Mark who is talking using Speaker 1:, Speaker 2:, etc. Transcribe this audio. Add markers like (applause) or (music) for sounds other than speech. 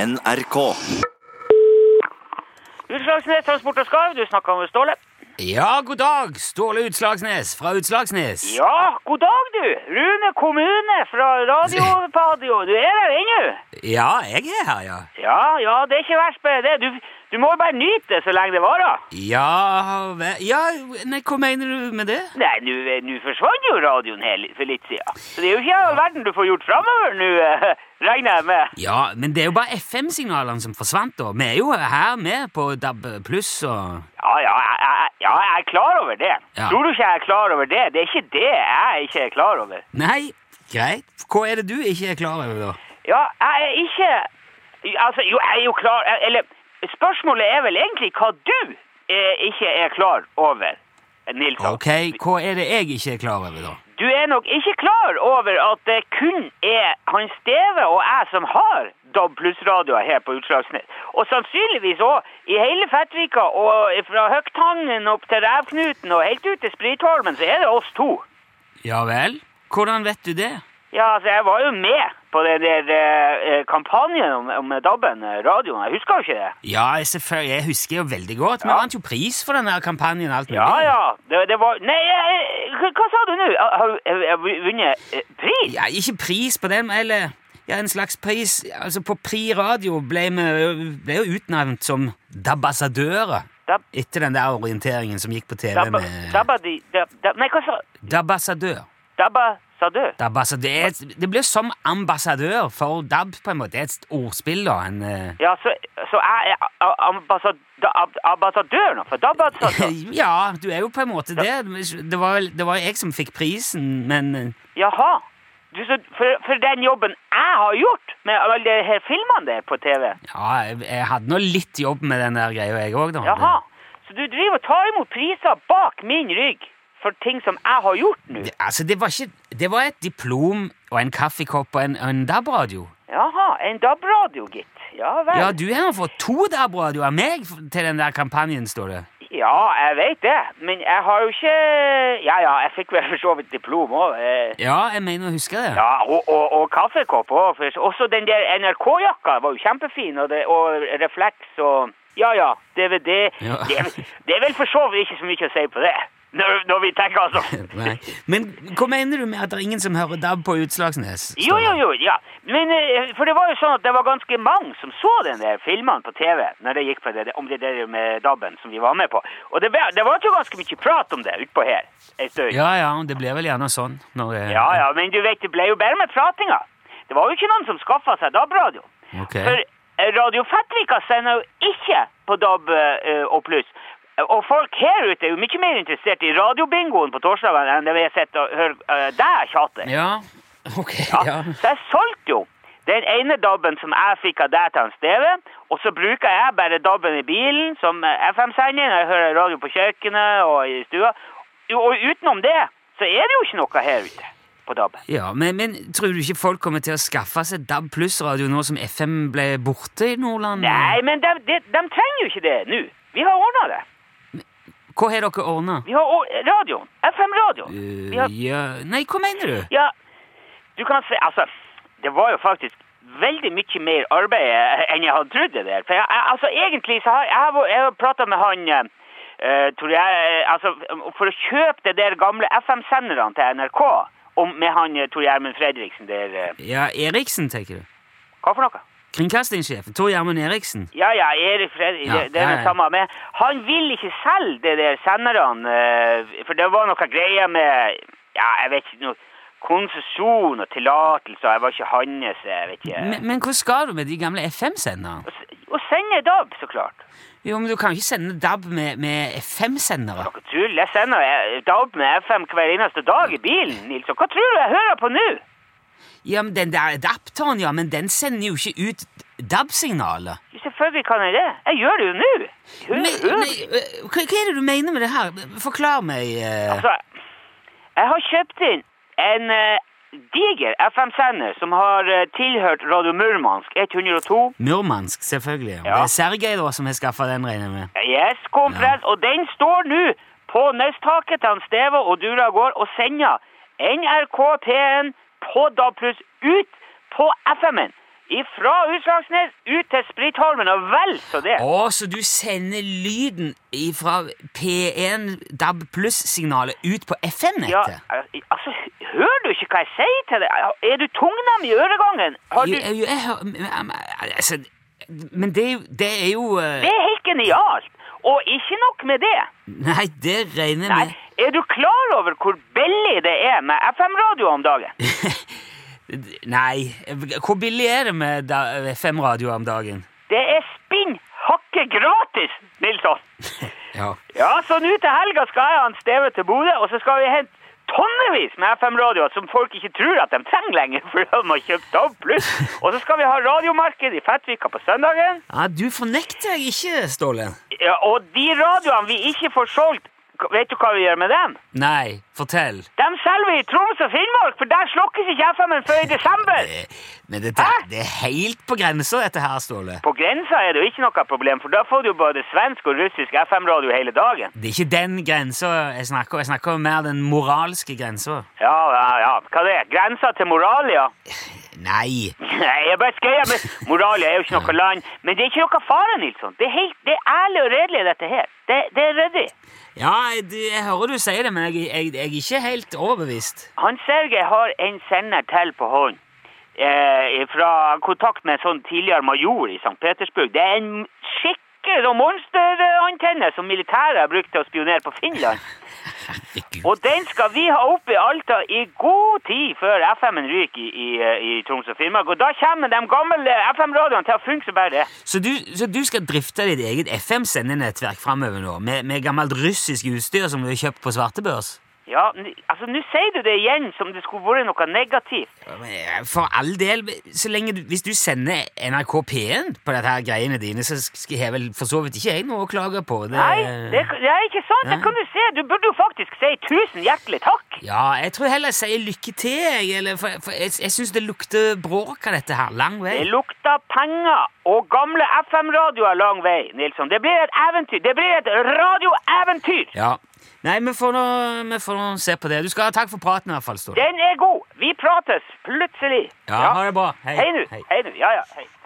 Speaker 1: NRK.
Speaker 2: Utslagsnes Transport og Skarv, du snakker med Ståle.
Speaker 3: Ja, god dag, Ståle Utslagsnes fra Utslagsnes.
Speaker 2: Ja, god dag, du! Rune kommune fra Radiopadio. Du er der ennå?
Speaker 3: Ja, jeg er her, ja.
Speaker 2: Ja, ja, det er ikke verst bare det. Du, du må jo bare nyte det så lenge det varer.
Speaker 3: Ja, ve- ja nei, hva mener du med det?
Speaker 2: Nei, nå eh, nå forsvant jo radioen her litt- for litt siden. Så det er jo ikke all verden du får gjort framover nå, (laughs) eh, regner jeg med.
Speaker 3: Ja, men det er jo bare FM-signalene som forsvant, da. Vi er jo her med på DAB pluss og
Speaker 2: Ja, ja, jeg, jeg, ja, jeg er klar over det.
Speaker 3: Ja.
Speaker 2: Tror du ikke jeg er klar over det? Det er ikke det jeg ikke er klar over.
Speaker 3: Nei, greit. Hva er det du ikke er klar over, da?
Speaker 2: Ja, jeg er ikke Altså, jo, jeg er jo klar Eller spørsmålet er vel egentlig hva du eh, ikke er klar over, Nilsson.
Speaker 3: Ok, hva er det jeg ikke er klar over, da?
Speaker 2: Du er nok ikke klar over at det kun er Hans Steve og jeg som har DAB pluss-radioer her på Utslagsnett. Og sannsynligvis òg i hele Fettvika og fra Høgtangen opp til Rævknuten og helt ut til Spritholmen, så er det oss to.
Speaker 3: Ja vel? Hvordan vet du det?
Speaker 2: Ja, altså, jeg var jo med på den der eh, kampanjen om, om DAB-en, eh, radioen. Jeg husker jo ikke det.
Speaker 3: Ja, selvfølgelig. Jeg husker jo veldig godt. Vi
Speaker 2: Ja.
Speaker 3: vant jo pris for den der kampanjen. og alt mulig.
Speaker 2: Ja, ja. Det, det var Nei, jeg- hva, hva sa du nå? Har- Har har jeg vunnet eh, pris?
Speaker 3: Ja, ikke pris på den, eller ja, en slags pris. Altså, på Pri Radio ble vi ble jo utnevnt som dabassadører
Speaker 2: Da-
Speaker 3: etter den der orienteringen som gikk på TV
Speaker 2: Dabba,
Speaker 3: med
Speaker 2: dabba di, dab, dab, nei, hva sa
Speaker 3: Dabassadør.
Speaker 2: Dabba sa du?
Speaker 3: Dabassadør. Det er et- Det blir som ambassadør for DAB, på en måte. Det er et ordspill, da. En, eh,
Speaker 2: Ja, så, så jeg er a- ambassad, da- ab- ambassadør nå, for dabba sa du?
Speaker 3: (laughs) eh, ja, du er jo på en måte det. Det var, vel- det var jeg som fikk prisen, men eh,
Speaker 2: Jaha. Du, så, for, for den jobben jeg har gjort med alle de her filmene der på TV?
Speaker 3: ja, jeg, jeg hadde nå litt jobb med den der greia, jeg òg, da.
Speaker 2: Jaha. Så du driver og tar imot priser bak min rygg for ting som jeg har gjort nå?
Speaker 3: Det, altså, det var ikke Det var et diplom og en kaffekopp og en, og en DAB-radio.
Speaker 2: Jaha. En DAB-radio, gitt. Ja vel.
Speaker 3: Ja, du har fått to DAB-radioer av meg f- til den der kampanjen, står det.
Speaker 2: Ja, jeg vet det, men jeg har jo ikke Ja ja, jeg fikk vel for så vidt diplom òg.
Speaker 3: Ja, jeg mener å huske det.
Speaker 2: Ja, og, og, og kaffekopp òg. Også den der NRK-jakka var jo kjempefin, og, det, og refleks og Ja ja, DVD
Speaker 3: Ja.
Speaker 2: Det, er, det er vel for så vidt ikke så mye å si på det, når, når vi tenker oss
Speaker 3: (laughs)
Speaker 2: om.
Speaker 3: (laughs) Nei. Men hva mener du med at det er ingen som hører DAB på Utslagsnes? står
Speaker 2: Jo, jo,
Speaker 3: det?
Speaker 2: jo, ja. Men, eh, for det var jo sånn at det var ganske mange som så den der filmen på TV når det gikk på det, om det der med DAB-en som vi var med på. Og det, ble- det var jo ganske mye prat om det utpå her en stund.
Speaker 3: Ja, ja, det blir vel gjerne sånn når det
Speaker 2: Ja, ja, men du vet, det ble jo bedre med pratinga. Det var jo ikke noen som skaffa seg DAB-radio.
Speaker 3: Ok.
Speaker 2: For eh, Radio Fettvika sender jo ikke på DAB eh, og pluss. Og folk her ute er jo mye mer interessert i radiobingoen på torsdagen enn det vi har sett og hørt eh, deg tjate.
Speaker 3: Ja, (laughs) ok,
Speaker 2: Ja.
Speaker 3: ja.
Speaker 2: Så jeg solgte jo den ene DAB-en som jeg fikk av deg til han Steve, og så bruker jeg bare DAB-en i bilen som eh, FM-sender når jeg hører radio på kjøkkenet og i stua. Jo, Og utenom det så er det jo ikke noe her ute på DAB-en.
Speaker 3: Ja, men, men tror du ikke folk kommer til å skaffe seg DAB pluss-radio nå som FM ble borte i Nordland?
Speaker 2: Nei, men de, de, de trenger jo ikke det nå. Vi har ordna det.
Speaker 3: Hva har dere ordna?
Speaker 2: Vi har or- radioen. FM-radioen.
Speaker 3: Eh,
Speaker 2: Vi har
Speaker 3: ja. Nei, hva mener du?
Speaker 2: Ja, du kan si Altså, det var jo faktisk veldig mye mer arbeid eh, enn jeg hadde trodd det der. For jeg, jeg, altså, egentlig så har jeg, har vært- jeg har prata med han eh, eh, tror jeg, eh, altså, For å kjøpe det der gamle FM-senderne til NRK om, med han eh, Tor Gjermund Fredriksen der eh,
Speaker 3: Ja, Eriksen, tenker du?
Speaker 2: Hva for noe?
Speaker 3: Kringkastingssjef Tor Gjermund Eriksen.
Speaker 2: Ja, ja, Erik Fredrik,
Speaker 3: Ja,
Speaker 2: det, det er
Speaker 3: ja,
Speaker 2: det
Speaker 3: ja.
Speaker 2: samme med. Han vil ikke selge det der senderne, eh, for det var noe greier med, ja, jeg vet ikke, noe konsesjon og tillatelse, og jeg var ikke hans, jeg vet ikke.
Speaker 3: Men, men hva skal du med de gamle FM-senderne?
Speaker 2: Og s- Og sende DAB, så klart.
Speaker 3: Jo, men Du kan jo ikke sende DAB med, med FM-sendere.
Speaker 2: Noe tull, jeg sender eh, DAB med FM hver eneste dag i bilen, Nils, og hva tror du jeg hører på nå?
Speaker 3: Ja, men Den der adapteren, ja, men den sender jo ikke ut DAB-signaler.
Speaker 2: Jo, Selvfølgelig kan jeg det. Jeg gjør det jo nå. Hun-
Speaker 3: Men-
Speaker 2: hun-
Speaker 3: men, øh, Hva, hva er det du mener med det her? Forklar meg. eh.
Speaker 2: Altså, jeg har kjøpt inn en eh, diger FM-sender som har eh, tilhørt Radio Murmansk 102.
Speaker 3: Murmansk, selvfølgelig.
Speaker 2: Ja.
Speaker 3: Det er Sergej da, som har skaffa den, regner jeg med.
Speaker 2: Yes, kompress, og den står nå på nøsttaket til han Steve og Dura går og sender NRK P1 på DAB+, ut på FM-en Fra Utslagsnes ut til Spritholmen og vel så det.
Speaker 3: Å, så du sender lyden fra P1 DAB pluss-signalet ut på
Speaker 2: Ja,
Speaker 3: FM-nettet?
Speaker 2: altså, hører du ikke hva jeg sier til deg? Er du tungnem i øregangen? Har du...
Speaker 3: Jo, jo, jeg hører men- men- altså, Men det, er jo- det er jo eh,
Speaker 2: Det er helt genialt. Og ikke nok med det.
Speaker 3: Nei, det regner jeg
Speaker 2: Nei,
Speaker 3: med.
Speaker 2: er du klar over hvor billig det er med FM-radio om dagen?
Speaker 3: Nei, hvor billig er det med da- FM-radio om dagen?
Speaker 2: Det er spinn hakke gratis, Nilsson.
Speaker 3: Ja.
Speaker 2: Ja, så nå til helga skal jeg ha en steve til Bodø, og så skal vi hente tonnevis med FM-radioer som folk ikke tror at de trenger lenger, for de har kjøpt DAB+. Og så skal vi ha radiomarked i Fettvika på søndagen.
Speaker 3: ja du fornekter jeg ikke, Ståle.
Speaker 2: Ja, og de radioene vi ikke får solgt, vet du hva vi gjør med dem?
Speaker 3: Nei, fortell.
Speaker 2: De selger vi i Troms og Finnmark, for der slokkes ikke FM-en før i desember.
Speaker 3: Eh, Men dette,
Speaker 2: Hæ?
Speaker 3: det er helt på grensa, dette her, Ståle.
Speaker 2: På grensa er det jo ikke noe problem, for da får du jo både svensk og russisk FM-radio hele dagen.
Speaker 3: Det er ikke den grensa jeg snakker om. Jeg snakker om mer den moralske grensa.
Speaker 2: Ja, ja, ja. Hva det er? Grensa til Moralia? (laughs)
Speaker 3: Nei.
Speaker 2: Nei, jeg bare skreier, men Moralia er jo ikke noe land. Men det er ikke noe fare, Nilsson. Det er, helt, det er ærlig og redelig, dette her. Det, det er ryddig.
Speaker 3: Ja, jeg, du- jeg hører du sier det, men jeg, jeg, jeg er ikke helt overbevist.
Speaker 2: Han Sergej har en sender til på hånd. Eh, fra kontakt med en sånn tidligere major i St. Petersburg. Det er en skikkelig sånn monsterantenne som militæret brukte til å spionere på Finland.
Speaker 3: Herregud.
Speaker 2: Og den skal vi ha opp i Alta i god tid før FM-en ryker i, i, i Troms og Finnmark. Og da kommer de gamle FM-radioene til å funke som bare det.
Speaker 3: Så du, så du skal drifte ditt eget FM-sendenettverk framover nå, med, med gammelt russisk utstyr som du har kjøpt på svartebørs?
Speaker 2: Ja, n- altså nå sier du det igjen som det skulle vært noe negativt.
Speaker 3: Ja, men, eh, For all del, så lenge du, hvis du sender NRK P1 på dette her greiene dine, så skal jeg vel for så vidt ikke jeg noe å klage på. Det,
Speaker 2: Nei, det, det er ikke sant. Det
Speaker 3: Nei.
Speaker 2: kan du se. Du burde jo faktisk si tusen hjertelig takk.
Speaker 3: (laughs) Ja, jeg tror heller jeg sier lykke til, jeg, eller, for, for jeg, jeg syns det lukter bråk av dette her, lang vei.
Speaker 2: Det lukter penger og gamle FM-radioer lang vei, Nilsson. Det blir et eventyr. Det blir et radioeventyr.
Speaker 3: Ja. Nei, vi får nå vi får nå se på det. Du skal ha takk for praten i hvert fall, Ståle.
Speaker 2: Den er god. Vi prates plutselig.
Speaker 3: Ja, ha det bra. Hei.
Speaker 2: Hei nå.
Speaker 3: Hei.
Speaker 2: Hei nå. Ja, ja. Hei.